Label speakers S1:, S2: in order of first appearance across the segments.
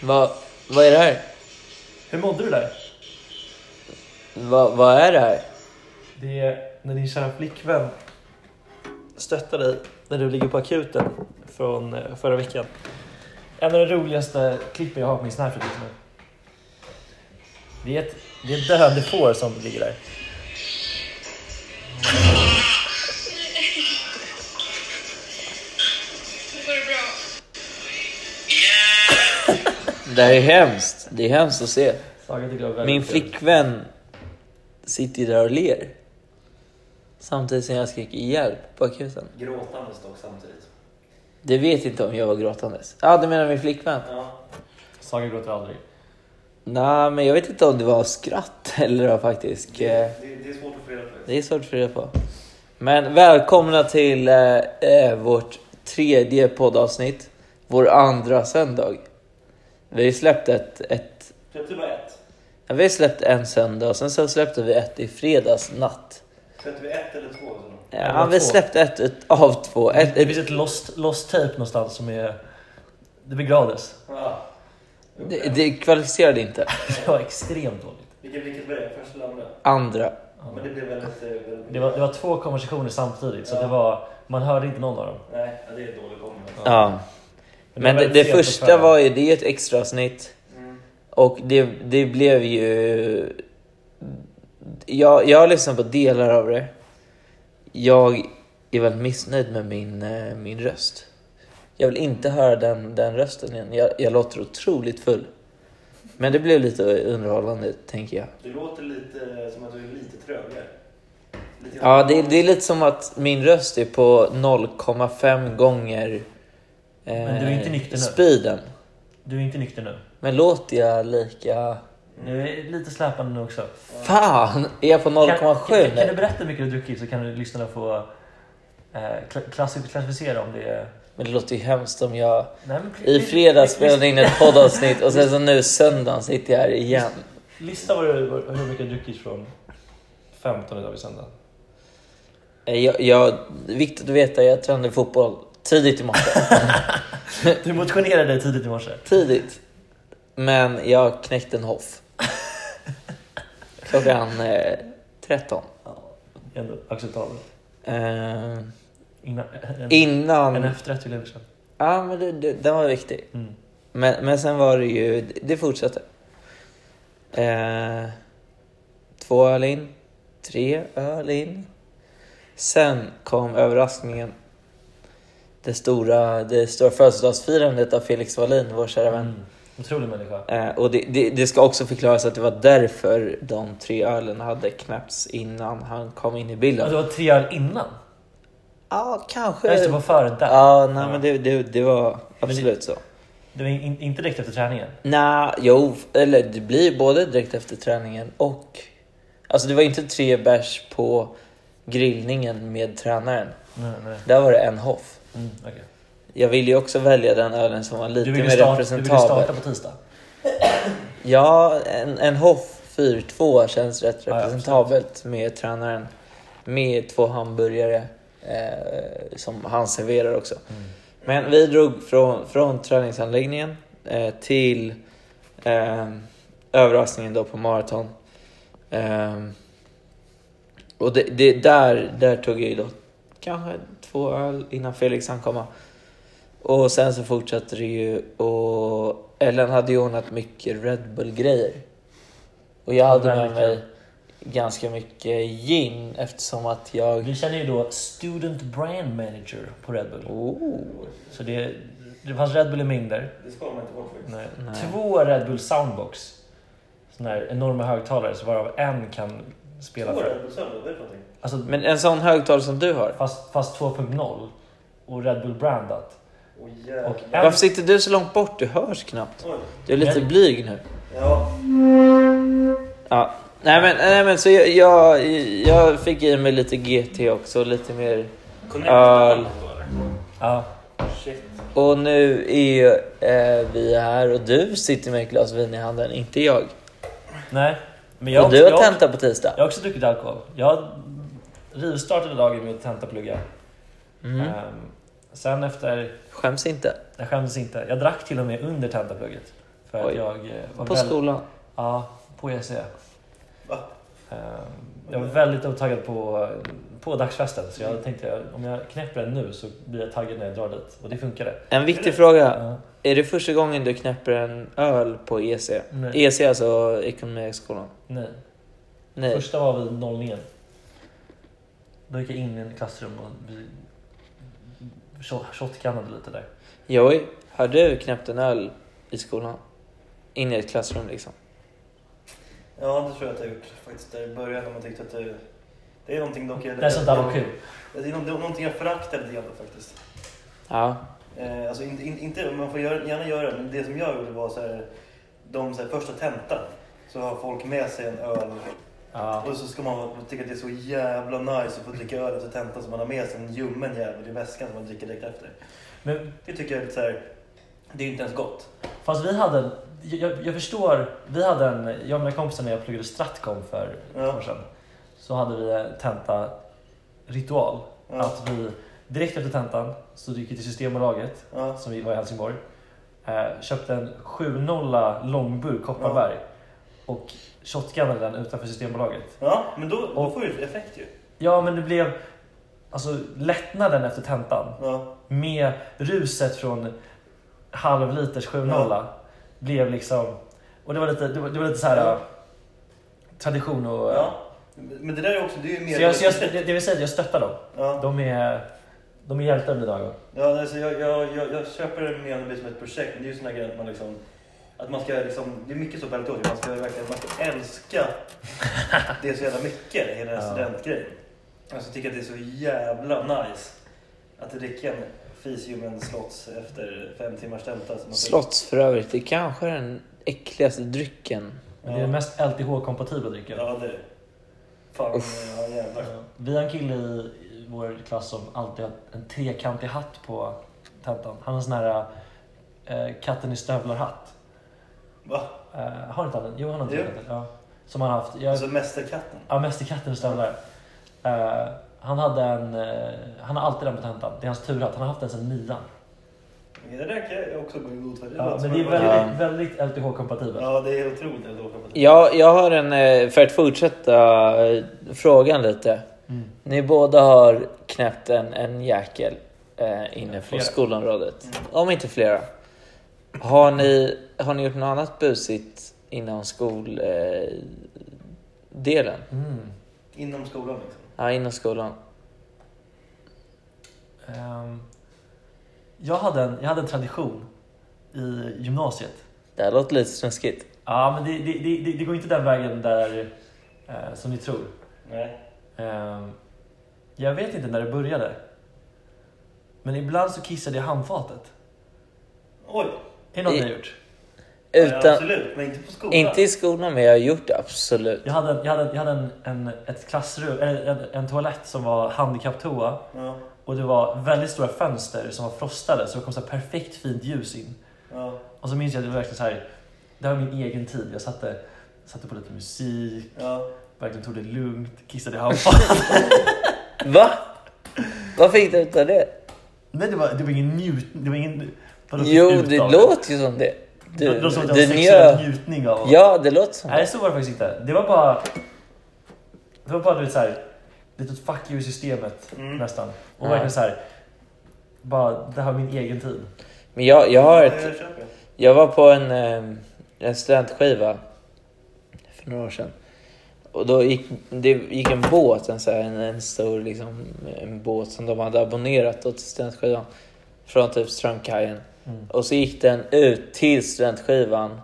S1: Vad vad är det här?
S2: Hur mådde du där?
S1: Vad vad är det här?
S2: Det är när din kära flickvän stöttar dig när du ligger på akuten från eh, förra veckan. En av de roligaste klippen jag har på min Snapchat just nu. Det är ett, det är ett döende får som ligger där.
S3: Går det bra?
S1: Det här är hemskt. Det är hemskt att se.
S2: Saga tycker det var väldigt
S1: Min
S2: kul.
S1: flickvän sitter där och ler. Samtidigt som jag skrek ihjäl på akuten.
S4: Gråtandes dock samtidigt.
S1: Det vet inte om jag var gråtandes. Ja, ah, du menar min flickvän?
S4: Ja.
S2: Saga gråter aldrig.
S1: Nej, men jag vet inte om det var skratt eller vad faktiskt. eh,
S4: Det, det är svårt att få reda på.
S1: Det är svårt för reda på. Men välkomna till eh, eh, vårt tredje poddavsnitt. Vår andra söndag. Vi har ju släppt ett, ett
S4: Släppte du bara ett?
S1: ja, vi har släppt en söndag och sen så släppte vi ett i fredags natt.
S4: Släppte vi ett eller två? eller något?
S2: Eller
S1: Ja, vi
S2: två.
S1: släppte ett ut- av två. Ett,
S2: Det finns ett lost, lost tape någonstans som är... Det begravdes.
S4: Ja.
S1: det, det kvalificerade inte.
S2: Det var extremt dåligt.
S4: Vilket, vilket var det? Första eller andra?
S1: Andra.
S4: Men det blev väldigt... eh, väldigt...
S2: Det var, det var två konversationer samtidigt, så
S4: Ja.
S2: det var, man hörde inte någon av dem.
S4: Nej, ja, det är dålig kombo.
S1: Ja.
S2: Men
S1: Men det,
S2: det var
S1: det
S2: sent att
S1: första
S2: föra.
S1: var ju, det är ett extra avsnitt.
S4: Mm.
S1: Och det, det blev ju... Jag, jag har lyssnat på delar av det. Jag är väldigt missnöjd med min, eh, min röst. Jag vill inte höra den, den rösten igen. Jag, jag låter otroligt full. Men det blev lite underhållande, tänker jag.
S4: Du låter lite som att du är lite trögare. Lite
S1: Ja, det, det är lite som att min röst är på 0,5 gånger eh,
S2: Men du är inte nykter nu.
S1: speeden.
S2: Du är inte nykter nu.
S1: Men låter jag lika...
S2: Nu är det lite släpande nu också.
S1: Fan! Är jag på
S2: Kan, kan, kan du
S1: 0,7?
S2: berätta hur mycket du har druckit så kan du lyssnarna få eh, kla- klassif- klassificera om det är...
S1: Men det låter ju hemskt om jag...
S2: Nej, men,
S1: I fredags
S2: lys-
S1: spelade jag in ett poddavsnitt och sen så nu söndagen sitter jag här igen.
S2: Lista vad du, vad- hur mycket du har druckit från 15 idag vid söndagen.
S1: Eh, Jag, jag, viktigt att veta, jag tränade fotboll tidigt i morse.
S2: Du motionerade dig tidigt i morse.
S1: Tidigt. Men jag knäckte en hoff. Klockan eh, 13.
S2: Ändå acceptabelt.
S1: Eh,
S2: Innan, en, en
S1: innan...
S2: efterrätt till lunchen.
S1: Ja, men det, det, den var viktig.
S2: Mm.
S1: Men, men sen var det ju, det- det fortsatte. Eh, två öl in, tre öl in. Sen kom överraskningen. Det stora, det stora födelsedagsfirandet av Felix Wallin, vår kära vän.
S2: Mm. Otrolig människa.
S1: Eh, och det, det, det ska också förklaras att det var därför de tre ölen hade knäppts innan han kom in i
S2: Ja. Alltså, Det
S1: bilden.
S2: var tre öl innan.
S1: Ja, kanske.
S2: Ja, Just det, det var före där.
S1: Ja, nej,
S2: Ja.
S1: men det, det, det var
S2: det-
S1: absolut så.
S2: Det var in, inte direkt efter träningen.
S1: Nej, jo, eller det blir både direkt efter träningen och... Alltså det var inte tre bärs på grillningen med tränaren.
S2: Nej, nej.
S1: Där var det en hoff.
S2: Mm, okej.
S1: Jag ville ju också välja den ölen som var
S2: Du
S1: lite
S2: ville
S1: mer
S2: starta, du ville
S1: representabel.
S2: starta på tisdag?
S1: Ja, en, en hoff 4-2 känns rätt
S2: Ja, ja,
S1: representabelt med tränaren. Med två hamburgare eh, som han serverar också.
S2: Mm.
S1: Men vi drog från, från träningsanläggningen eh, till eh, överraskningen då på maraton. Eh, och det, det, där, där tog jag ju då kanske två öl innan Felix hann komma. Och sen så fortsatte det ju och Ellen hade ju ordnat mycket Red Bull-grejer. Och jag hade med
S2: Väldigt
S1: mig ganska mycket gin eftersom att jag...
S2: Vi känner ju då Student Brand Manager på Red Bull.
S1: Oh,
S2: Så det, det fanns Red Bull i mängder.
S4: Det ska man inte bort faktiskt.
S2: Nej.
S1: Nej.
S2: Två Red Bull Soundbox. Såna här enorma högtalare, så varav en kan spela
S4: Två
S2: för...
S4: Red Bull Summer, vad är det för någonting?
S2: Alltså,
S1: men en sån högtalare som du har.
S2: fast, fast 2.0 och Red Bull brandat.
S4: Åh
S2: Och
S4: jävlar.
S2: en,
S1: Varför sitter du så långt bort? Du hörs knappt.
S4: Oj.
S1: Du är lite
S2: Men-
S1: blyg nu.
S4: Ja.
S1: Ja. Nej men, nej, men så jag, jag, jag fick i mig lite GT också, lite mer öl.
S2: ja,
S4: Shit.
S1: Och nu är ju, eh, vi här och du sitter med ett glas vin i handen, inte jag.
S2: nej. Men jag,
S1: och du har
S2: jag,
S1: tenta på tisdag.
S2: jag har också druckit alkohol. Jag rivstartade dagen med tentaplugga.
S1: Mm.
S2: Ehm, sen efter
S1: Skäms inte.
S2: Jag skämdes inte. Jag drack till och med under tentaplugget. För att
S1: Oj.
S2: jag eh, var
S1: På
S2: väl-
S1: skolan.
S2: Ja, på EC.
S4: Va?
S2: Eh, Jag var väldigt upptaggad på, på dagsfesten så
S1: Mm.
S2: jag tänkte att om jag knäpper den nu så blir jag taggad när jag drar dit. Och det funkade.
S1: En viktig fråga.
S2: Ja.
S1: Är det första gången du knäpper en öl på E EC?
S2: Nej.
S1: EC alltså Ekonomihögskolan?
S2: Nej.
S1: Nej.
S2: Första var vid nollningen. Då gick jag in i en klassrum och vi shot- shotcannade lite där.
S1: Joj, har du knäppt en öl i skolan? In i ett klassrum liksom?
S4: Ja, det tror jag att jag har gjort faktiskt där i början när man tyckte att det... Det är någonting dock jag...
S2: Det är sånt där var kul.
S4: Det är nå- någonting jag föraktar lite grann faktiskt.
S1: Ja.
S4: Eh, alltså inte, in- inte, man får göra, gärna göra det, men det som jag gjorde var så här, de så här, första tentan så har folk med sig en öl
S2: Ja.
S4: och så ska man tycka att det är så jävla nice att få dricka öl efter tentan så man har med sig en ljummen jävel i väskan som man dricker direkt efter.
S2: Men
S4: Det tycker jag är lite så här, det är inte ens gott.
S2: fast vi hade en, jag, jag förstår, vi hade en, jag och mina kompisar när jag pluggade Stratcom för ett
S4: Ja.
S2: år sedan. Så hade vi en tenta-ritual.
S4: Ja,
S2: Att vi direkt efter tentan så gick vi till Systembolaget,
S4: ja,
S2: som vi var i Helsingborg. Eh, köpte en 7-0 långburk Kopparberg och shotgunnade den utanför Systembolaget.
S4: ja men då, då
S2: Och-
S4: får du ju effekt ju.
S2: Ja, men det blev alltså, lättnaden efter tentan
S4: Ja,
S2: med ruset från halvliters 7-0 blev liksom... Och det var lite, det var, det var lite så här
S4: Ja.
S2: eh, tradition och...
S4: ja. Men det där är också, det är ju mer...
S2: Så jag, så jag, det det vill säga att jag stöttar dem.
S4: ja.
S2: De är, de är hjältar i mina ögon.
S4: Ja, alltså jag, jag, jag, jag köper det mer om det är som liksom ett projekt. men Det är ju såna grejer att man liksom... Att man ska liksom det är mycket så på LTH, man ska verkligen man ska älska det så jävla mycket, hela den
S2: Ja.
S4: studentgrejen. Alltså tycker att det är så jävla nice att dricka en fisium slots efter fem timmars tenta. som man-
S1: Slotts för övrigt, det kanske är den äckligaste drycken.
S2: Men det är den mest LTH-kompatibla drycken.
S4: Ja, det är det. Fan, ja jävlar.
S2: Vi har en kille i i vår klass som alltid har en trekantig hatt på tentan. Han har en sån här eh, katten i stövlar-hatt.
S4: Va?
S2: Eh, har inte han den? Jo, han har en
S4: Jo.
S2: trekantig. Ja. Som han har haft. Jag,
S4: Alltså Mästerkatten.
S2: ja, mest i katten i stövlar. Eh, han, hade en, eh, han har alltid den på tentan. Det är hans turhatt. Han har haft den sedan nian.
S4: Det där kan jag också gå i god för.
S2: Ja, men det är väldigt, väldigt LTH-kompatibelt.
S4: Ja, det är otroligt att åka på det.
S1: Jag, jag har en, eh, för att fortsätta eh, frågan lite.
S2: Mm.
S1: Ni båda har knäppt en, en jäkel eh, inne på
S2: Flera. Mm.
S1: skolområdet. Om inte flera. Har ni, har ni gjort något annat busigt inom skoldelen? Eh, delen?
S2: Mm.
S4: Inom skolan liksom.
S1: ja, inom skolan.
S2: Ehm, jag, hade en, jag hade en tradition i gymnasiet.
S1: Det här låter lite snuskigt.
S2: Ja, men det, det, det, det- det går inte den vägen där eh, som ni tror.
S4: Nej.
S2: Eh, jag vet inte när det började. Men ibland så kissade jag i handfatet.
S4: Oj!
S2: Är det något
S1: I-
S2: ni har gjort?
S4: Ja,
S1: Utan,
S4: absolut, men inte på skolan.
S1: inte i skolan, men jag har gjort det absolut.
S2: Jag hade, en- jag hade, en- jag hade en, en, ett klassrum, eller en, en toalett som var handikapptoa
S4: Ja,
S2: och det var väldigt stora fönster som var frostade så det kom så här perfekt fint ljus in.
S4: ja,
S2: Och så minns jag att det var verkligen så här, det här var min egen tid. Jag satte, satte på lite musik,
S4: ja.
S2: verkligen tog det lugnt, kissade i handfatet.
S1: Va? Vad fick du ut av det?
S2: Nej, det var, det var ingen njutning. Det var ingen... vadå,
S1: Jo,
S2: utdrag?
S1: det låter ju som det.
S2: Det
S1: Du,
S2: låter som att
S1: du
S2: jag har sexuell
S1: njöt.
S2: njutning av
S1: Ja, det låter som
S2: Nej,
S1: det.
S2: så var det faktiskt inte. Det var bara... Det var bara du vet, så här, lite ett fuck you i systemet
S4: Mm.
S2: nästan. Och
S1: Ja.
S2: verkligen så här, bara det här var min egen tid.
S1: Men jag, jag har
S4: Ja,
S1: ett...
S4: jag köper.
S1: Jag var på en, eh, en studentskiva för några år sedan. Och då gick, det gick en båt, en, så här, en, en stor liksom, en båt som de hade abonnerat åt studentskivan. Från typ Strömkajen.
S2: Mm.
S1: Och så gick den ut till studentskivan.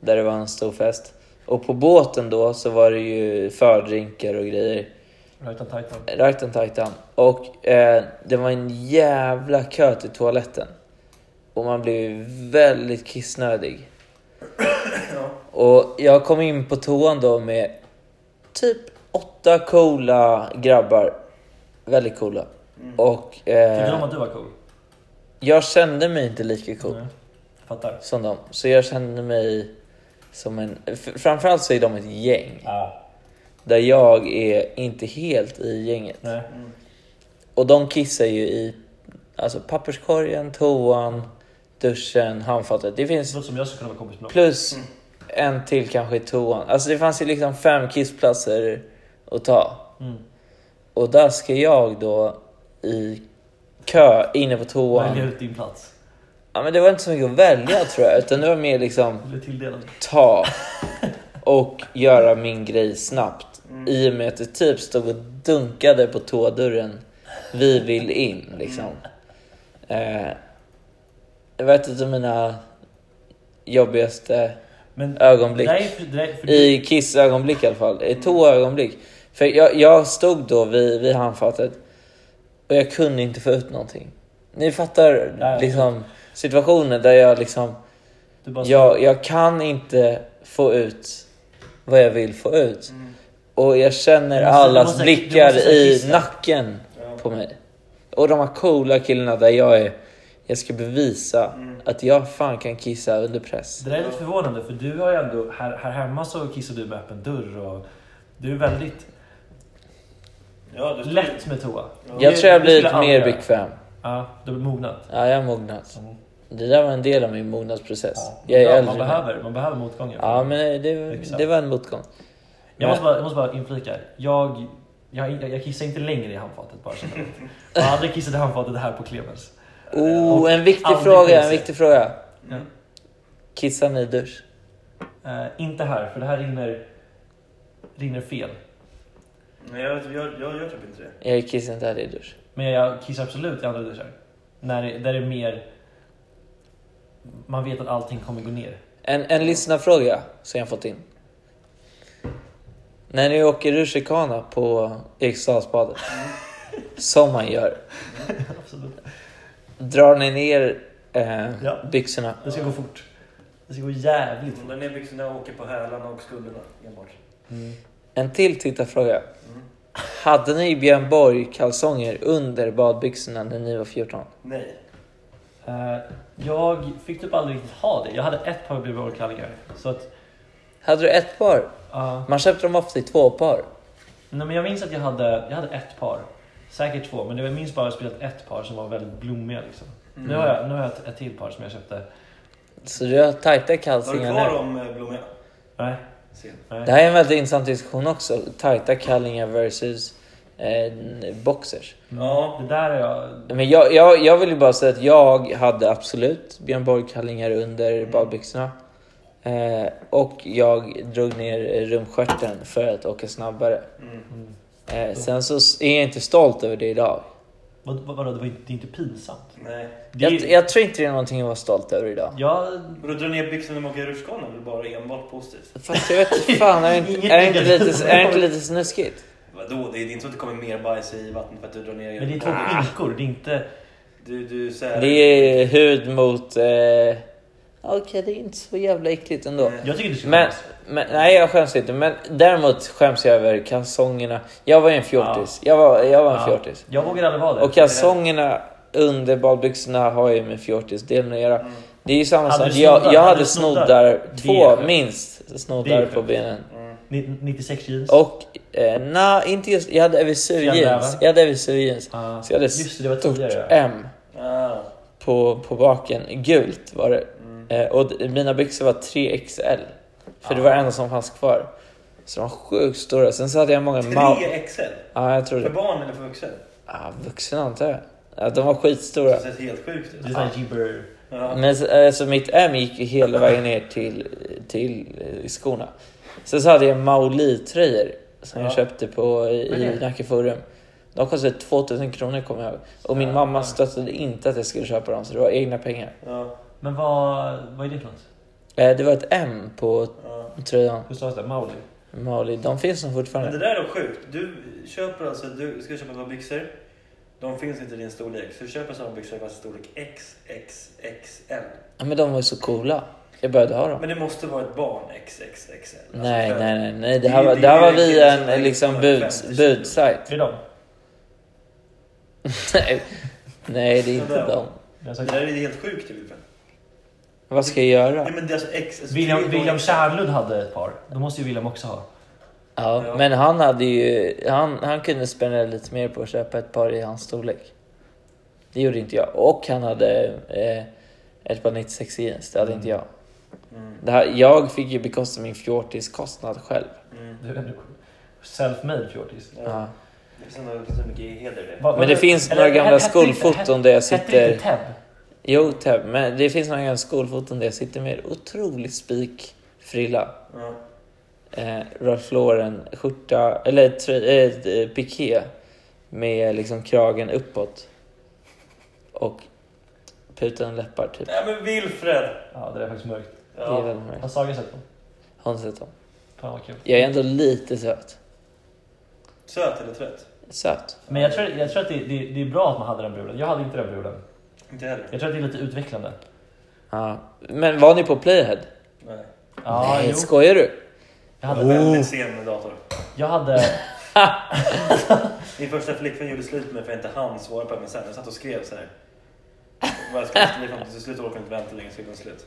S1: Där det var en stor fest. Och på båten då så var det ju fördrinkar och grejer.
S2: Right on Titan.
S1: Right and tight down. Och eh, det var en jävla kö till toaletten. Och man blev väldigt kissnödig.
S4: Ja.
S1: Och jag kom in på toan då med typ åtta coola grabbar. Väldigt coola.
S4: Mm.
S1: Och
S2: Tyckte de
S1: eh,
S2: att du var cool?
S1: jag kände mig inte lika cool
S2: Nej. Fattar.
S1: som dem. Så jag kände mig som en... fr- Framförallt så är de ett gäng.
S2: Ja.
S1: Där jag är inte helt i gänget.
S2: Nej.
S4: Mm.
S1: Och de kissar ju i alltså papperskorgen, toan, duschen, handfatet. Det
S2: Det
S1: finns
S2: låter som jag skulle kunna vara kompis med någon.
S1: plus
S4: Mm.
S1: en till kanske i toan. Alltså det fanns ju liksom fem kissplatser att ta.
S2: Mm.
S1: Och där ska jag då i kö inne på
S2: Välja
S1: toan.
S2: ut din plats.
S1: Ja, men det var inte så mycket att välja tror jag, utan det var mer liksom
S2: Du blir tilldelad.
S1: ta och göra min grej snabbt.
S4: Mm.
S1: I och med att det typ stod och dunkade på toadörren. Vi vill in liksom. Eh, det var ett av mina jobbigaste
S2: Men
S1: Ögonblick.
S2: Nej, för, nej, för
S1: i kissögonblick i alla fall. I toaögonblick. För jag, jag stod då vid, vid handfatet och jag kunde inte få ut någonting. Ni fattar
S2: Ja, ja.
S1: liksom situationen där jag liksom,
S2: du bara
S1: jag, jag kan inte få ut vad jag vill få ut.
S4: Mm.
S1: Och jag känner
S2: Du måste-
S1: allas
S2: du måste- du
S1: blickar
S2: måste
S1: i
S2: kissa.
S1: nacken
S4: Ja.
S1: på mig. Och de här coola killarna där jag är, jag ska bevisa
S4: Mm.
S1: att jag fan kan kissa under press.
S2: Det där är lite förvånande för du har ju ändå, här, här hemma så kissar du med öppen dörr och du är väldigt
S4: Ja, du står-
S2: lätt med toa.
S4: Ja.
S1: Jag
S2: Det-
S1: tror jag
S2: det
S1: blir
S2: skulle
S1: lite
S2: alla
S1: mer
S2: göra.
S1: bekväm.
S2: Ja, du har mognat.
S1: Ja, jag har mognat.
S2: Mm.
S1: Det där var en del av min mognadsprocess.
S2: Ja,
S1: Jag är äldre
S2: man,
S1: nu.
S2: behöver, man behöver motgångar.
S1: Ja, men det,
S2: Exakt.
S1: det var en motgång.
S2: jag, måste bara, jag måste bara inflika. Jag, jag, jag, jag kissar inte längre i handfatet bara så att du vet. Jag har aldrig kissat i handfatet här på Clemens.
S1: Oh, en viktig
S2: Eh, aldrig
S1: fråga, en
S2: kissa.
S1: viktig fråga.
S2: Ja.
S1: Kissar ni i dusch?
S2: Eh, inte här, för det här rinner, rinner fel.
S4: Nej, jag, vet- jag, jag gör typ inte det.
S1: Jag kissar inte heller i dusch.
S2: Men jag kissar absolut i andra duschar. När det, där det är mer... Man vet att allting kommer gå ner.
S1: En, en lyssnarfråga som jag fått in. När ni åker rutschkana på Eriksdalsbadet, som man gör,
S2: Absolut.
S1: drar ni ner eh,
S2: Ja.
S1: byxorna?
S2: Det ska gå fort. Det ska gå jävligt fort.
S4: Hålla ner byxorna liksom och åker på hälarna och skulderna enbart.
S1: En till tittarfråga.
S4: Mm.
S1: Hade ni Björn Borg-kalsonger under badbyxorna när ni var 14?
S4: Nej.
S2: Eh, jag fick typ aldrig riktigt ha det. Jag hade ett par BBH-kallingar. Så att...
S1: Hade du ett par?
S2: ja.
S1: Man köpte dem ofta i två par.
S2: nej, men jag minns att jag hade, jag hade ett par. Säkert två, men det var- jag minns bara att jag spelat ett par som var väldigt blommiga. Liksom.
S1: Mm.
S4: Mm.
S2: Nu, har jag, nu har jag ett, ett till par som jag köpte.
S1: Så du har tajta
S4: Har du
S1: kallingar
S4: kvar
S1: nu.
S4: de eh, blommiga?
S2: Nej,
S4: Sen.
S2: nej.
S1: Det här är en väldigt intressant diskussion också. Tajta kallingar versus eh, boxers.
S4: Ja.
S2: Det där är jag...
S1: Men jag, jag, jag vill ju bara säga att jag hade absolut Björn Borg-kallingar under badbyxorna. Eh, och jag drog ner rumstjärten för att åka snabbare.
S4: Mm.
S2: Mm.
S1: Eh, sen så s- är jag inte stolt över det idag.
S2: Vad, vad, vadå, det, var, inte- det är inte pinsamt.
S4: Nej.
S2: Det är,
S1: Jag, jag tror inte det är någonting att vara stolt över idag.
S2: jag
S4: Men då drar ner byxorna när man åker rutschkana är väl bara enbart positivt?
S1: Fast jag vet inte fan, är det inte, är det inte, lite, är det inte lite snuskigt?
S4: Vadå? Det är inte så att det kommer mer bajs i vattnet för att du drar ner... Ah,
S2: Men det är två pinkor, det är inte...
S4: Du, du så här-
S1: Det är hud mot... Eh... Okej, det är inte så jävla äckligt ändå.
S4: Nej.
S2: Jag tycker det ska
S1: Men,
S2: skämmas.
S1: men, nej, jag skäms inte. Men däremot skäms jag över kalsongerna. Jag var ju en fjortis. Jag, var, jag var en
S2: Ja.
S1: fjortis.
S2: Jag vågar aldrig vara det.
S1: Och kalsongerna under badbyxorna har ju med fjortisdelen att göra.
S4: Mm.
S1: Det är ju samma
S2: Hade
S1: sak.
S2: du
S1: Jag,
S2: snoddar?
S1: jag
S2: Hade
S1: hade
S2: du snoddar?
S1: snoddar,
S2: Det är
S1: två
S2: skönt.
S1: minst
S2: Det
S1: snoddar
S2: är
S1: på
S2: skönt.
S1: benen.
S4: Mm.
S2: Ni- 96 jeans.
S1: Och, eh, nej, inte just... Jag hade
S2: Fjällräven.
S1: Evisu-jeans. Jag hade Evisu-jeans.
S2: Ah,
S1: Så jag hade
S2: just det, det var
S1: stort
S2: tidigare. ja.
S1: M
S4: Ah.
S1: på, på baken. Gult var det.
S4: Mm.
S1: Eh, och d- mina byxor var 3XL. För det
S2: Ah.
S1: var det enda som fanns kvar. Så de var sjukt stora. Sen så hade jag många mount...
S4: 3 XL?
S1: Ja, jag tror
S4: För
S1: det.
S4: barn eller för vuxen?
S1: Ah, vuxna antar jag. Ja, de var
S4: Det
S1: skitstora.
S4: ser helt sjukt ut.
S2: Det är sån här jibber.
S4: Ja.
S1: Men så- eh, så mitt M gick ju hela vägen ner till, till eh, skorna. Sen så hade jag Maoli-tröjor som jag
S4: Ja.
S1: köpte på,
S2: Vad är
S1: i
S2: det?
S1: Nacka Forum. De kostade 2000 kronor kommer jag ihåg. Och min mamma stöttade inte att jag skulle köpa dem så det var egna pengar.
S4: Ja.
S2: Men vad, vad är det för något?
S1: Eh, Det var ett M på
S4: Ja.
S1: tröjan.
S2: Hur stavas det? Mauli?
S1: Maoli. De finns nog
S4: Men
S1: fortfarande.
S4: det där är då sjukt. Du köper alltså, du ska köpa ett par byxor. De finns inte i din storlek. Så du köper sådana byxor fast storlek XXXL.
S1: Ja, men de var ju så coola. Jag började ha dem.
S4: Men det måste vara ett barn XXXL. Alltså,
S1: nej,
S4: för-
S1: nej, nej, nej. Det
S4: Det är
S1: här
S4: ju-
S1: var,
S4: det
S1: det
S4: är
S1: här
S4: ju
S1: var
S4: en
S1: via
S4: kille som
S1: en
S4: är
S1: liksom
S4: ungefär
S1: buds,
S4: 50
S1: budsajt.
S2: Är det dem?
S1: nej, nej, det är inte
S4: Sådär.
S1: dem.
S2: Jag har
S4: Det
S2: sagt-
S4: där är helt sjukt i bilden.
S1: Vad ska jag göra?
S4: Nej men det är alltså X... Alltså
S2: William,
S4: tre gånger-
S2: William Kärnlund hade ett par. Då måste ju William också ha.
S1: Ja,
S4: Ja.
S1: men han hade ju... Han, han kunde spendera lite mer på att köpa ett par i hans storlek. Det gjorde inte jag. Och han hade eh, ett par 96 jeans. Det hade
S2: Mm.
S1: inte jag.
S4: Mm.
S1: Det här, jag fick ju bekosta min fjortiskostnad själv.
S4: Mm.
S2: Du är ändå self-made fjortis.
S4: Ja.
S1: Ja.
S4: Det finns ändå så mycket heder i det.
S2: Vad-
S1: Men det finns
S2: eller-
S1: några gamla
S2: hette det inte-
S1: skolfoton där jag
S2: hette- Hette
S1: sitter...
S2: det inte Ted?
S1: Jo, Teb, men det finns några gamla skolfoton där jag sitter med otroligt spik frilla.
S4: Ja.
S1: Eh, Ralph Lauren skjorta, eller trö- eh, eh, piké med liksom kragen uppåt. Och putan läppar typ.
S4: Nej men Wilfred!
S2: Ja, det är faktiskt mörkt.
S1: Det är
S4: Ja.
S1: väldigt
S2: Har
S1: märkligt.
S2: Saga sett dem?
S1: Har inte sett dem.
S2: Fan vad kul.
S1: Jag är ändå lite söt.
S4: Söt eller trött?
S1: Söt.
S2: Men jag tror, jag tror att det, det, det är bra att man hade den bruden. Jag hade inte den bruden.
S4: Inte heller?
S2: Jag tror att det är lite utvecklande.
S1: Ja. Men var ni på Playhead?
S4: Nej.
S2: Ja,
S1: Nej,
S2: jo.
S1: skojar du?
S2: Jag
S4: Jag
S2: hade,
S4: var
S1: Oh.
S4: väldigt sen med dator.
S2: jag hade...
S4: Min första flickvän gjorde slut med mig för jag inte hann svara på MSN. Jag satt och skrev så här. Vad ska jag skriva fram till slut? Jag orkar inte vänta längre. Skriv slut.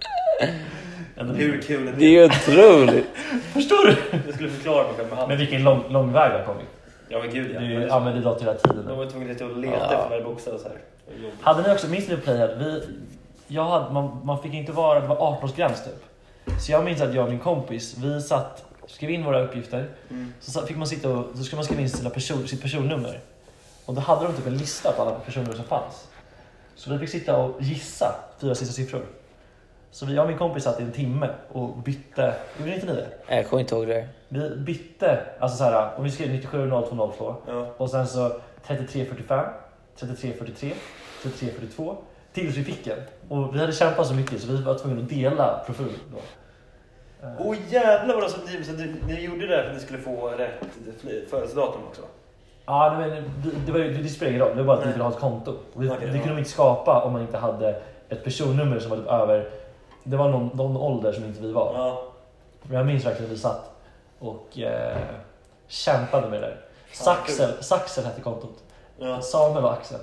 S2: jag
S4: Hur
S2: hade
S4: kul är
S1: Det är ju
S4: det?
S1: otroligt.
S2: förstår du?
S4: Jag skulle förklara mig själv med
S2: Men
S4: handen.
S2: vilken lång, lång väg jag har kommit.
S4: Ja men gud ja.
S2: Du
S4: Men
S2: använder dator hela tiden.
S4: De
S2: nu.
S4: var tvungna lite att leta
S1: Ja.
S4: efter varje bokstav så här. Det var jobbigt.
S2: Hade ni också, minns ni Playhead? Vi, jag hade, man, man fick inte vara, det var 18-årsgräns typ. Så jag minns att jag och min kompis, vi satt, skrev in våra uppgifter.
S4: Mm.
S2: Så satt- fick man sitta och, så skulle man skriva in sina person, sitt personnummer. Och då hade de typ en lista på alla personer som fanns. Så vi fick sitta och gissa fyra sista siffror. Så vi, jag och min kompis satt i en timme och bytte, gjorde inte ni det?
S1: Nej, Jag kommer inte ihåg det. här.
S2: Vi bytte, alltså såhär, om vi skrev 970202
S4: Ja.
S2: och sen så 3345, 3343, 3342 tills vi fick en. Och vi hade kämpat så mycket så vi var tvungna att dela profil då. Eh,
S4: Åh jävlar vad det så ni, så ni, ni gjorde det där för att ni skulle få rätt fl- födelsedatum också?
S2: Ja, nej, men det, det, var ju, det spelar ingen roll, det var bara att vi
S4: Nej.
S2: ville ha ett konto. Och vi,
S4: Okej,
S2: det
S4: ja.
S2: kunde de inte skapa om man inte hade ett personnummer som var typ över... Det var någon, någon ålder som inte vi var.
S4: Ja.
S2: Men jag minns verkligen att vi satt och eh, kämpade med det där.
S4: Fan,
S2: Saxel, Saxel hette kontot.
S4: ja.
S2: Samuel och Axel.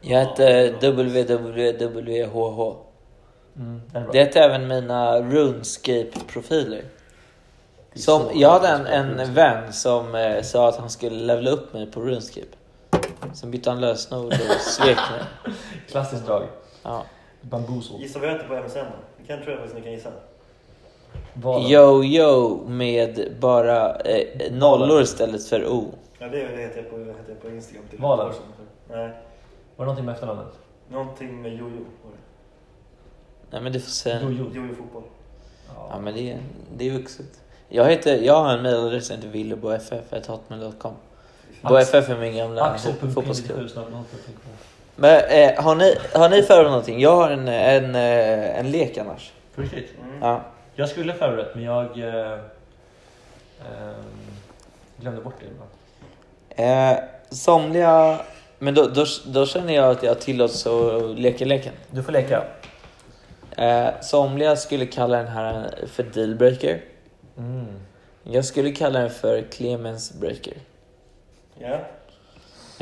S1: Jag
S4: Ja,
S1: hette
S4: det
S1: WWWHH.
S2: Mm, den är bra.
S1: Det hette även mina RuneScape-profiler.
S2: Det är
S1: Som,
S2: så
S1: jag hade
S2: sjukt
S1: en, en
S2: bra kunskap.
S1: vän som eh, sa att han skulle levla upp mig på RuneScape. Sen bytte han lösenord och svek mig.
S2: Klassiskt drag.
S1: Ja.
S2: Bambuso.
S4: Gissa vad jag heter på MSN då? Det kan tror jag faktiskt ni kan gissa.
S2: Vad-
S1: Yo yo med bara eh, nollor istället för o.
S4: Ja det heter jag på, heter jag på Instagram till
S2: Valen?
S4: ett år sedan. Nej.
S2: Var det någonting med efternamnet?
S4: Någonting med jojo. var det.
S1: Nej men du får säga.
S2: Jojo.
S4: Jojo fotboll.
S1: Ja men det är, det är vuxet. Jag, heter, jag har en mejladress som heter willeboff.hotmail.com. Boff är min gamla fo- fotbollsklubb.
S2: Axel.97 snabbt.
S1: Men eh, har ni, har ni förberett någonting? Jag har en, en, eh, en lek annars.
S2: På riktigt?
S4: Mm.
S1: Ja.
S2: Jag skulle förberett men jag eh, ehm, glömde bort det ibland.
S1: Eh, somliga... Men då, då, då känner jag att jag tillåts att leka leken.
S2: Du får leka.
S1: Eh, somliga skulle kalla den här för dealbreaker.
S2: Mm.
S1: Jag skulle kalla den för Clemens breaker.
S4: Ja.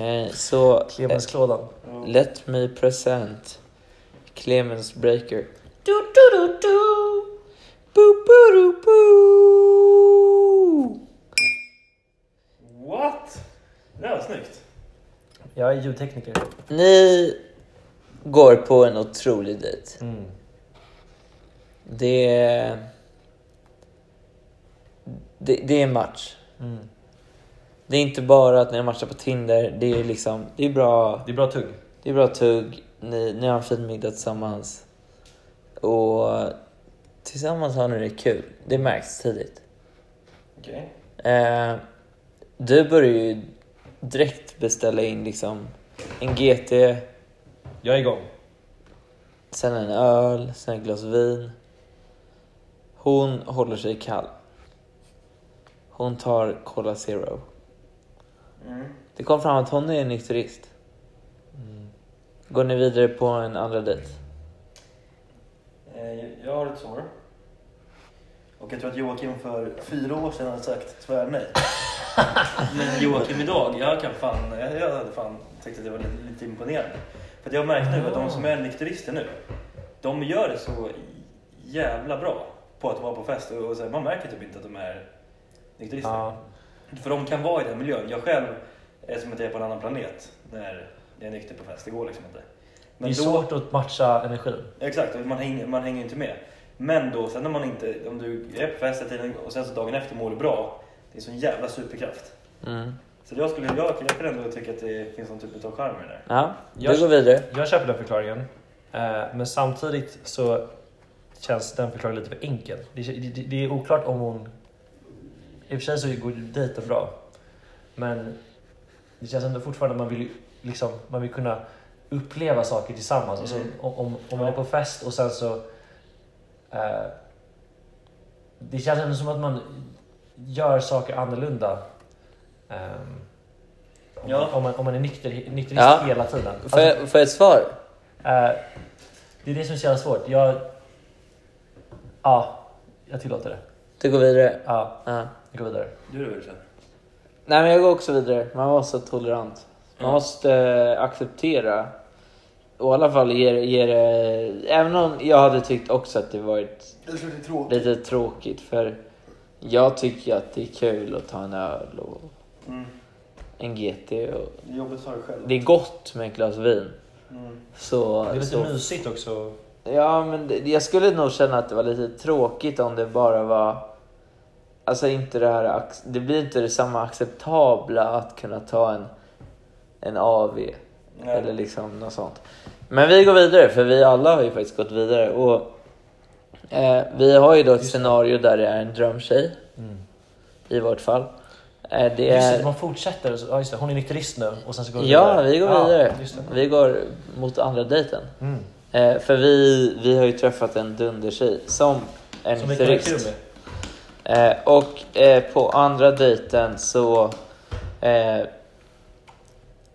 S1: Eh, så eh,
S2: Clemenslådan.
S4: Ja.
S1: let me present Clemens breaker. Du, du, du, du. Boo, boo, doo, boo.
S4: What? Det var snyggt.
S2: Jag är ljudtekniker.
S1: Ni går på en otrolig dejt.
S2: Mm.
S1: Det, det, det är en match.
S2: Mm.
S1: Det är inte bara att ni har matchat på Tinder. Det är liksom, det är bra,
S2: Det är bra tugg.
S1: det är bra tugg. Ni, ni har en fin middag tillsammans. Och tillsammans har ni det kul. Det märks tidigt.
S4: Okej.
S1: Eh, du börjar ju direkt beställa in liksom en GT,
S2: Jag är igång.
S1: sen en öl, sen ett glas vin. Hon håller sig kall. Hon tar Cola Zero.
S4: Mm.
S1: Det kom fram att hon är en nykterist.
S2: Mm.
S1: Går ni vidare på en andra dejt?
S4: Eh, Jag har ett sår. Och jag tror att Joakim för fyra år sedan hade sagt tyvärr nej. Men Joakim idag, jag kan fan, jag, jag hade fan tyckt att det var lite, lite imponerande. För att jag har märkt nu att de som är nykterister nu, de gör det så jävla bra på att vara på fest. Och, och så här, man märker typ inte att de är nykterister.
S2: Ja.
S4: För de kan vara i den miljön. Jag själv är som att jag är på en annan planet när jag är nykter på fest. Det går liksom inte.
S2: Det är svårt att matcha energin.
S4: Exakt, och man hänger, man hänger ju inte med. Men då, sen när man inte, om du är på fest hela tiden och sen så dagen efter mår du bra. Det är en sån jävla superkraft.
S1: Mm.
S4: Så jag skulle, jag, jag kan ändå tycka att det finns någon typ av charm i det där.
S1: Ja,
S2: Jag-
S1: du går vidare.
S2: Jag köper den förklaringen. eh, Men samtidigt så känns den förklaringen lite för enkel. Det, det, det är oklart om hon... I och för sig så går ju dejten bra. Men det känns ändå fortfarande att man vill, ju liksom, man vill kunna uppleva saker tillsammans. Alltså,
S4: Mm.
S2: om, om, om man är på fest och sen så... eh, det känns ändå som att man gör saker annorlunda. ehm, om,
S4: Ja.
S2: man, om, man, om man är nykter, nykterist
S1: Ja.
S2: hela tiden. Alltså,
S1: Får jag, får jag ett svar?
S2: Eh, det är det som är så jävla svårt. Jag... Ja, jag tillåter det.
S1: Du går vidare.
S2: Ja,
S1: Ja.
S2: vi går vidare.
S4: Du då Wilson?
S1: Nej, men jag går också vidare. Man måste vara tolerant. Man
S4: Mm.
S1: måste eh, acceptera. Och i alla fall ge, ge det... Även om jag hade tyckt också att det varit
S4: Jag tror det är tråkigt.
S1: lite tråkigt. För jag tycker ju att det är kul att ta en öl och
S4: Mm.
S1: en GT. Och...
S4: Det är jobbigt för dig själv.
S1: Det är gott med ett glas vin.
S4: Mm.
S1: Så,
S2: Det är lite
S1: så
S2: mysigt också.
S1: Ja, men det, jag skulle nog känna att det var lite tråkigt om det bara var... Alltså inte det här... ac- Det blir inte det samma acceptabla att kunna ta en, en AV
S4: Nej.
S1: eller liksom något sånt. Men vi går vidare, för vi alla har ju faktiskt gått vidare. Och eh, Vi har ju då ett scenario där det är en drömtjej,
S2: Mm.
S1: i vårt fall. Eh, det
S2: Just det,
S1: är...
S2: man fortsätter. och så- Ja, just det, hon är nykterist nu och sen så går vi
S1: Ja,
S2: vidare.
S1: vi går
S2: Ja,
S1: vidare.
S2: just det.
S1: Vi går mot andra dejten.
S2: Mm.
S1: Eh, för vi, vi har ju träffat en dundertjej som en
S2: Som vi kan ha kul
S1: turist.
S2: med.
S1: Eh, och eh, på andra dejten så... Eh,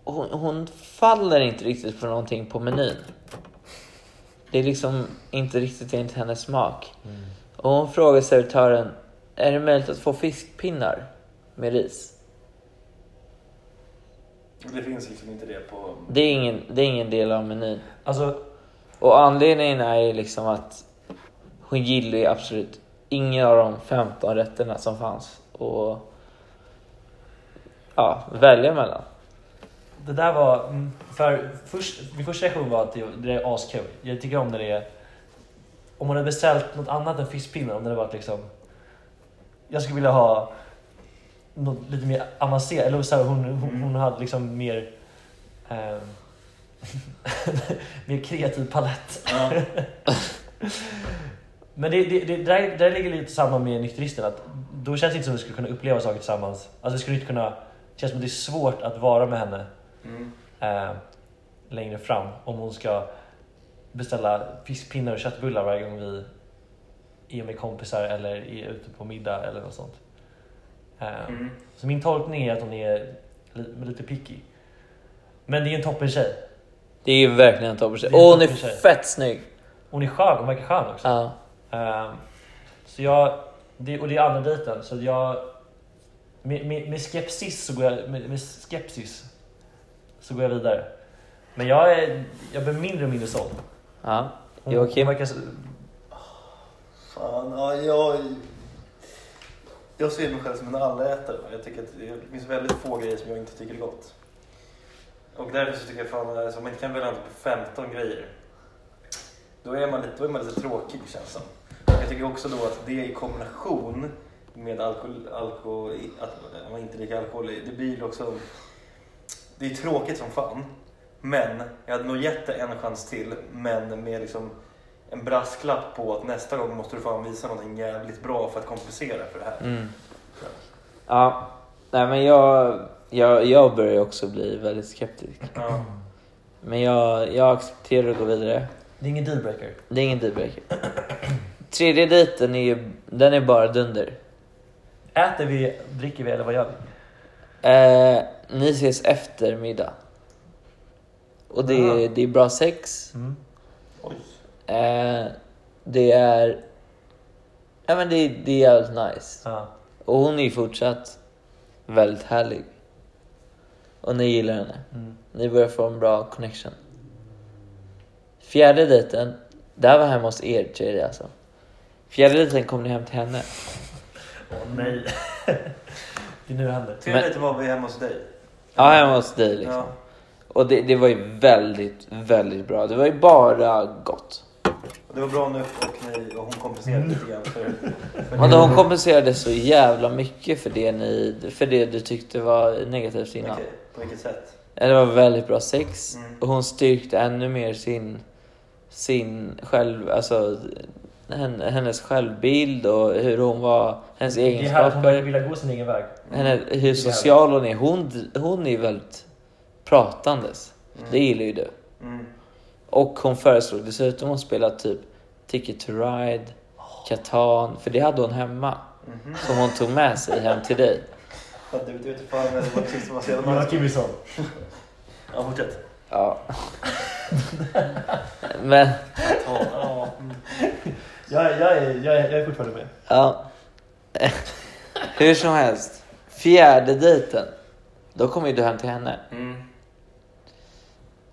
S1: hon, hon faller inte riktigt för någonting på menyn. Det är liksom inte riktigt enligt hennes smak.
S2: Mm.
S1: Och hon frågar servitören, är det möjligt att få fiskpinnar med ris?
S4: Det finns liksom inte det på...
S1: Det är ingen, det är ingen del av menyn.
S2: Alltså,
S1: Och anledningen är ju liksom att hon gillar ju absolut ingen av de 15 rätterna som fanns och ja, välja mellan.
S2: det där var... mm, För först, min första reaktion var att det, det är askul. Jag tycker om när det är... Om hon hade beställt något annat än fiskpinnar, om det hade varit liksom... Jag skulle vilja ha något lite mer avancerat. Eller så här, hon, hon,
S4: Mm.
S2: hon hade liksom mer... ehm, mer kreativ palett.
S4: Ja.
S2: Men det, det, det där, där ligger lite samma med nykteristen. Att då känns det inte som att vi skulle kunna uppleva saker tillsammans. Alltså, vi skulle inte kunna... Det känns som att det är svårt att vara med henne
S4: Mm.
S2: eh, längre fram om hon ska beställa fiskpinnar och köttbullar varje gång vi är med kompisar eller är ute på middag eller något sånt. Eh,
S4: Mm.
S2: Så min tolkning är att hon är li- lite picky. Men det är en toppen tjej.
S1: Det är ju verkligen en toppers.
S2: Det är
S1: Och
S2: en
S1: hon är
S2: toppentjej.
S1: fett snygg!
S2: Hon är skön, hon verkar skön också.
S1: Ja.
S2: Eh, Så jag, det, och det är andra dejten, så jag... Med, med, med skepsis så går jag... Med, med skepsis så går jag vidare. Men jag, är, jag blir mindre och mindre såld.
S1: ja.
S2: Hon,
S1: Joakim?
S2: hon verkar så-
S4: Fan, ja, jag... Jag ser mig själv som en allätare. Jag tycker att det finns väldigt få grejer som jag inte tycker är gott. Och därför så tycker jag fan, alltså, om man inte kan välja typ 15 grejer, då är man lite, då är man lite tråkig känns det som. Jag tycker också då att det i kombination med alkohol, alkohol att man inte dricker alkohol, det blir ju också... Det är tråkigt som fan, men jag hade nog gett det en chans till, men med liksom en brasklapp på att nästa gång måste du fan visa någonting jävligt bra för att kompensera för det här.
S1: Mm. Ja. Nej men jag, jag, jag börjar ju också bli väldigt skeptisk.
S4: Ja.
S1: Men jag, jag accepterar att gå vidare.
S2: Det är ingen dealbreaker.
S1: Det är ingen dealbreaker. Tredje dejten är ju, den är bara dunder.
S2: Äter vi, dricker vi eller vad gör vi?
S1: Eh, ni ses efter middag. Och det,
S2: Aha.
S1: är, det är bra sex.
S2: Mm.
S4: Oj.
S1: Eh, det är... Ja men det, det är jävligt nice.
S2: Ja.
S1: Och hon är ju fortsatt väldigt härlig. Och ni gillar henne.
S2: Mm.
S1: Ni börjar få en bra connection. Fjärde dejten, det här var hemma hos er tjejer alltså. Fjärde dejten kom ni hem till henne.
S2: Åh, nej. det är nu det händer.
S4: Tredje dejten var vi hemma hos dig.
S1: Ja, hemma hos dig liksom.
S4: Ja.
S1: Och det, det var ju väldigt, väldigt bra. Det var ju bara gott.
S4: Och Det var bra nu och, ni, och hon kompenserade lite grann för... för
S1: Men de kompenserade så jävla mycket för det, ni, för det du tyckte var negativt innan.
S4: Okej, på vilket sätt?
S1: Ja, Det var väldigt bra sex.
S4: Mm.
S1: Och hon styrkte ännu mer sin, sin själv, alltså hen- hennes självbild och hur hon var, hennes
S2: Det är här att hon verkar
S1: egenskaper,
S2: vilja gå sin egen väg.
S1: henne, hur social hon är. Hon, hon är väldigt pratandes.
S2: Mm.
S1: Det gillar ju du.
S4: Mm.
S1: Och hon föreslog dessutom att spela typ Ticket to Ride, Catan, för det hade hon hemma.
S4: Mhm.
S1: Som hon tog med sig hem till dig.
S4: Att du vet fan vad det var precis som var så jävla
S2: Jonas
S4: nice.
S2: Kimmelsson.
S4: Ja, fortsätt.
S1: Ja. Men,
S4: Ja, ja. Mm.
S2: Jag, jag, är, jag, är, jag är fortfarande med.
S1: ja. Hur som helst. Fjärde dejten. Då kommer ju du hem till henne.
S4: Mm.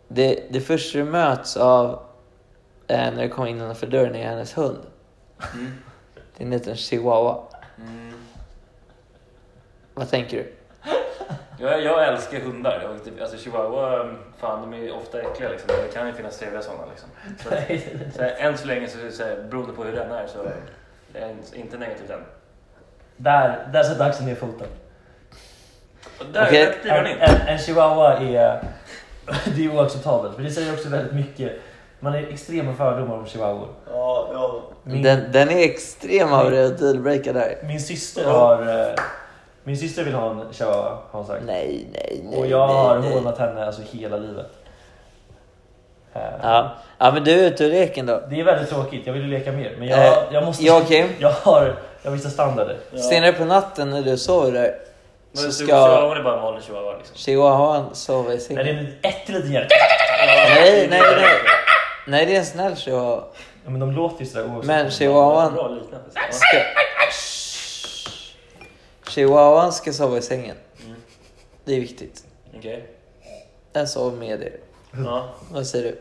S1: Det, det första du möts av eh, när du kommer innanför dörren är hennes hund.
S4: Mm.
S1: Det är en liten chihuahua.
S4: Mm.
S1: Vad tänker du?
S3: Jag, jag älskar hundar. Och typ, alltså chihuahua, fan de är ju ofta äckliga liksom. men Det kan ju finnas trevliga sådana liksom. Så, att- så här, än så länge så, så här, beroende på hur den är så det är en- inte negativt än.
S2: Där, där sätter Axel ner foten.
S3: Och där
S1: Okej.
S3: där kliver
S2: En,
S3: han in.
S2: en, en chihuahua är... Det är oacceptabelt, men det säger också väldigt mycket. Man är extrema fördomar om chihuahuor.
S4: Ja, ja.
S2: Min-
S1: Den, den är extrem av dig att dealbreaka där.
S2: Min syster har... eh, Min syster vill ha en chihuahua, har hon sagt.
S1: Nej, nej, nej.
S2: Och jag har
S1: nej, nej.
S2: hånat henne alltså hela livet. Eh,
S1: Ja. ja, men du är ute ur leken då.
S2: Det är väldigt tråkigt, jag vill ju leka mer. Men
S1: Eh,
S2: jag, jag måste...
S1: jag och Kim?
S2: Jag har, jag har vissa standarder.
S4: Ja.
S1: Senare på natten när du sover där
S3: Men så-
S1: så ska
S3: Chihuahua är bara en vanlig chihuahua liksom.
S1: chihuahuan sova i
S2: Nej, det
S1: sängen.
S2: är ett litet hjärta.
S1: Nej, nej, nej. Nej, det är en snäll chihuahua.
S2: Ja, men de låter ju sådär oavsett.
S1: Men
S3: Bra,
S1: chihuahuan
S3: bra liknelse. Ja.
S1: ska... Shh. Chihuahuan ska sova i sängen. Det är viktigt.
S3: Okej.
S1: Den sover med er.
S3: Ja,
S1: Vad säger du?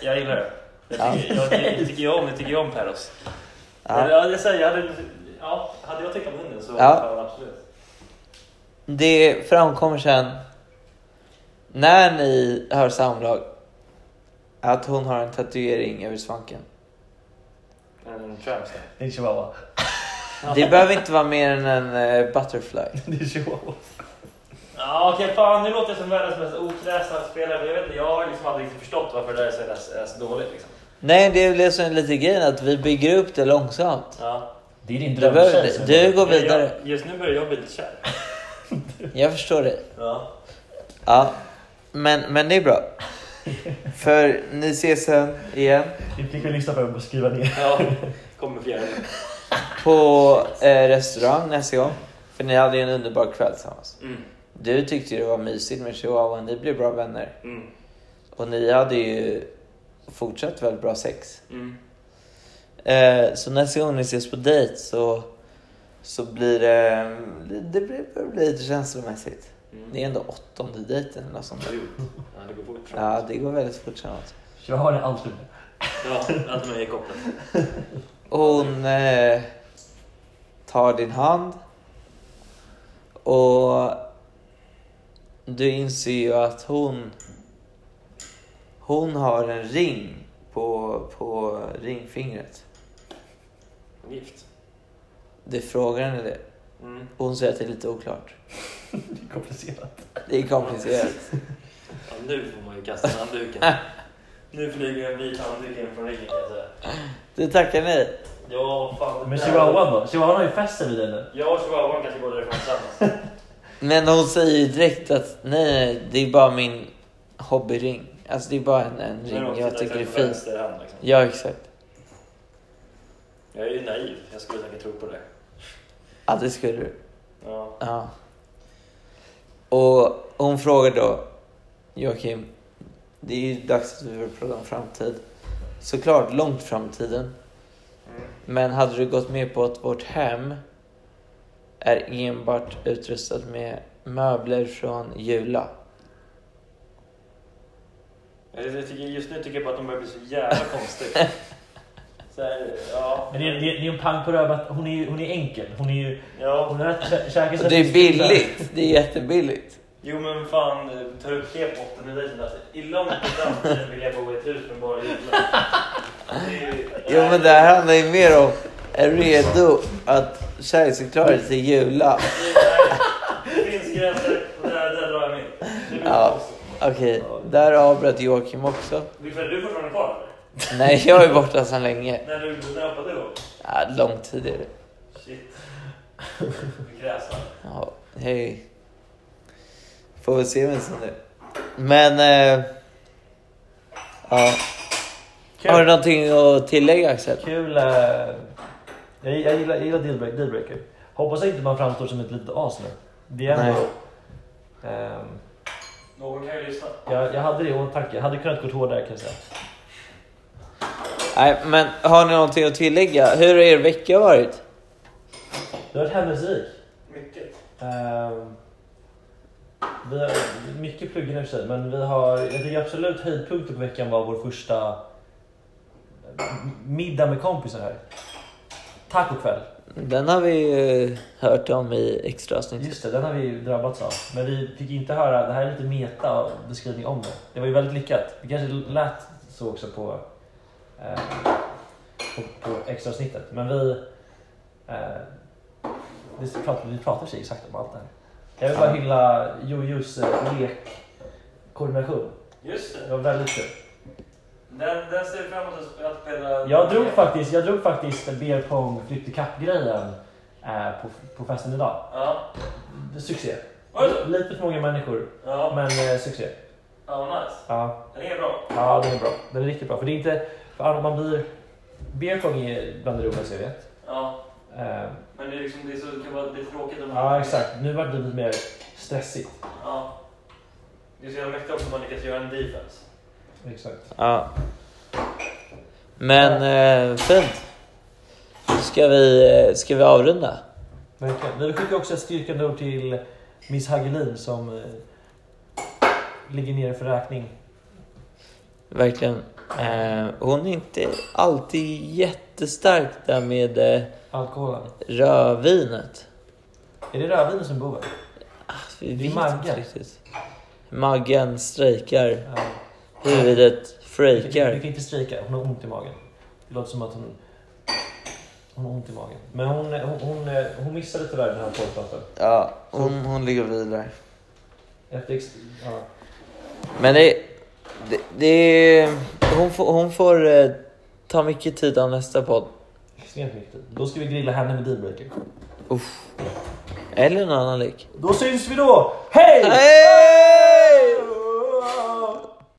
S3: jag gillar det.
S1: Ja.
S3: Jag tycker, jag, det tycker jag om, det tycker jag om Perros.
S1: Ja.
S3: Ja. Jag, jag, säger, jag hade, ja, hade jag tyckt om hunden så
S1: Ja.
S3: ja. absolut.
S1: Det framkommer sen när ni har samlag att hon har en tatuering över svanken.
S3: En tramster.
S2: Det är en chihuahua.
S1: Det behöver inte vara mer än en eh, butterfly.
S2: Det är en chihuahua.
S3: Ja, okej, fan nu låter jag som världens mest okräsna spelare. men Jag, vet, inte, jag har liksom aldrig riktigt förstått varför det där är så, är så, är så dåligt. Liksom.
S1: Nej, det är väl det som är lite grejen, att vi bygger upp det långsamt.
S3: Ja.
S2: Det är din
S1: Du, behöver,
S2: drömtjej.
S1: inte- du går
S3: Men
S1: vidare.
S3: Jag, just nu börjar jag bli lite kär.
S1: Jag förstår dig.
S3: Ja.
S1: Ja. Men, men det är bra. För ni ses sen igen
S2: Vi fick väl lyssna på den och skriva ner.
S3: ja. Kommer fjärde.
S1: på eh, restaurang nästa gång. För ni hade ju en underbar kväll tillsammans.
S3: Mm.
S1: Du tyckte ju det var mysigt med chihuahuan, ni blev bra vänner.
S3: Mm.
S1: Och ni hade ju fortsatt väldigt bra sex.
S3: Mm.
S1: Eh, så nästa gång ni ses på dejt så, så blir det, det blir, det blir lite känslomässigt.
S3: Mm.
S1: Det är ändå åttonde dejten eller något sånt. där.
S3: Ja, det går fort.
S1: Ja, det går väldigt fort framåt.
S2: Chihuahua är alltid med.
S3: Ja, allt med i kopplat.
S1: Hon eh, tar din hand och du inser ju att hon hon har en ring på, på ringfingret.
S3: Gift.
S1: Du frågar henne det.
S3: Mm.
S1: Hon säger att det är lite oklart.
S2: Det är komplicerat.
S1: Det är komplicerat.
S3: Ja, nu får man ju kasta handduken. nu flyger en vit handduk in från ryggen kan jag säga.
S1: Du tackar nej.
S3: Ja, fan.
S2: Men chihuahuan då? Chihuahuan har ju fäst sig vid den nu.
S3: Jag och chihuahuan kanske går därifrån tillsammans.
S1: Men hon säger ju direkt att nej, nej, det är bara min hobbyring. Alltså det är bara en, en
S3: Men
S1: ring
S3: de
S1: jag
S3: tittar
S1: tycker det är
S3: på
S1: fint.
S3: vänster hand, liksom.
S1: Ja, exakt.
S3: Jag är ju naiv. Jag skulle säkert tro på det.
S1: Ja, det skulle du.
S3: Ja.
S1: Ja. Och hon frågar då, Joakim, det är ju dags att vi börjar prata om framtid. Såklart långt framtiden.
S3: Mm.
S1: Men hade du gått med på att vårt hem är enbart utrustat med möbler från Jula?
S3: Jag Mm. jag tycker, just nu tycker jag bara att de börjar bli så jävla konstiga. Så här, ja.
S2: Men det, det, det är en pang på rövat. Hon är ju hon är enkel. Hon är ju...
S3: Ja.
S2: Hon har rätt kä- käkar sig-
S1: Det är billigt, det är jättebilligt.
S4: Jo men fan, tar upp det botten i dig som läser. Illa om det framtiden vill jag bo i ett hus med bara jordgubbar. Det är ju-
S1: Jo men det här handlar ju mer om, är du redo att kärleksförklara dig till jula?
S4: Det finns gränser och där, där drar jag min. Det blir
S1: Ja.
S4: konstigt.
S1: Okej, där avbröt Joakim också.
S4: Vilfred, är du fortfarande kvar eller?
S1: Nej, jag är borta sedan länge.
S4: När du när hoppade du?
S1: Ja, lång tid är det.
S4: Shit. Du kräsna.
S1: Ja, hej. Får väl se vem som det är. Men... Eh, ja.
S2: Kul.
S1: Har du någonting att tillägga Axel?
S2: Kul. eh, Jag, jag gillar, jag gillar dealbreak, dealbreaker. Hoppas inte man framstår som ett litet as nu. Det är ändå... Ehm,
S4: Någon kan ju lyssna.
S2: jag, jag hade det i åtanke. Jag hade kunnat gå hårdare kan jag säga.
S1: Nej, men har ni någonting att tillägga? Hur har er vecka varit?
S2: Det har varit händelserik.
S4: Mycket.
S2: Ehm, vi har mycket plugg nu för sig, men vi har, jag tycker absolut höjdpunkten på veckan var vår första m- middag med kompisar här. Tacokväll.
S1: Den har vi ju hört om i extra avsnitt.
S2: Just det, den har vi ju drabbats av. Men vi fick inte höra, det här är lite meta beskrivning om det. Det var ju väldigt lyckat. Det kanske lät så också på, eh, på, på extraavsnittet. Men vi, eh, det pratar, vi pratar sig exakt om allt det här. Jag vill bara hylla Jojos eh, lekkoordination.
S4: Just det.
S2: Det var väldigt kul.
S4: Den, den ser fram emot att- att spela.
S2: Jag drog faktiskt, jag drog faktiskt beer pong flytt i kapp-grejen eh, på, på festen idag.
S4: Ja.
S2: Succé.
S4: Var det så?
S2: Lite för många människor,
S4: Ja.
S2: men eh, succé.
S4: Ja, vad nice.
S2: Ja.
S4: Den är bra.
S2: Ja, den är bra. Den är riktigt bra. För det är inte... För man blir... Beer pong är bland det roligaste jag vet.
S4: Ja.
S2: Eh,
S4: Men det är liksom, det är så, det kan vara lite tråkigt om
S2: ja, exakt. Nu vart det lite mer stressigt.
S4: Ja. Det är så jävla mäktigt också om man lyckas göra en defense.
S2: Exakt.
S1: Ja. Men eh, fint. Ska vi, eh, ska vi avrunda?
S2: Verkligen. Vi skickar också ett styrkande ord till Miss Hagelin som eh, ligger nere för räkning.
S1: Verkligen. Eh, hon är inte alltid jättestark där med eh,
S2: Alkoholen.
S1: rödvinet.
S2: Är det rödvin som är boven?
S1: Vi
S2: Det är
S1: vet
S2: Maggan.
S1: inte riktigt. Maggan strejkar.
S2: Ja.
S1: Huvudet
S2: Du kan- du
S1: frejkar.
S2: kan inte strejka. Hon har ont i magen. Det låter som att hon... Hon har ont i magen. Men hon, hon, hon, eh, hon missade tyvärr den här porrplatten.
S1: Ja, hon, hon ligger vidare.
S2: Efter... ex- Ja.
S1: Men det... det, det hon får, hon får eh, ta mycket tid av nästa podd.
S2: Extremt viktigt. Då ska vi grilla henne med dealbreaker.
S1: Eller någon annan lik.
S2: Då syns vi då! Hej!
S1: Hej!